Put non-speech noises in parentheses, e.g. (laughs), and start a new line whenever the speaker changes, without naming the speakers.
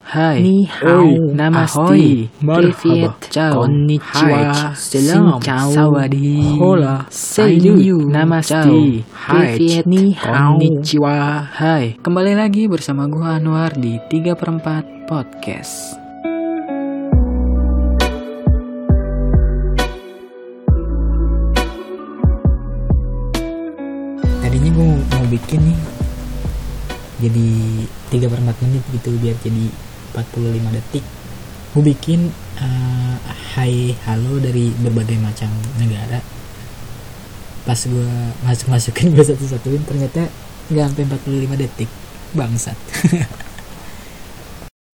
はい。
にハオ
おいナマステ
アホイ
ィ。マルハ
ケフィエッ
バ。
チャオ
こんにちは。
はい
セラ
シン
ム。
チャオ
サワリー。
ほら
セリュー。
ナマスティ
はい。
ケフィエッ
に
ニ
ハ
ハ
オ。
オ
こんにちは。はい。Kembali lagi bersama gua Anwar di 3 per 4 Podcast.
tadinya gue mau bikin nih jadi 3 per 4 menit gitu biar jadi 45 detik gue bikin eh, hai halo dari berbagai macam negara pas gue (laughs) masuk masukin gue satu satuin ternyata nggak sampai 45 detik bangsat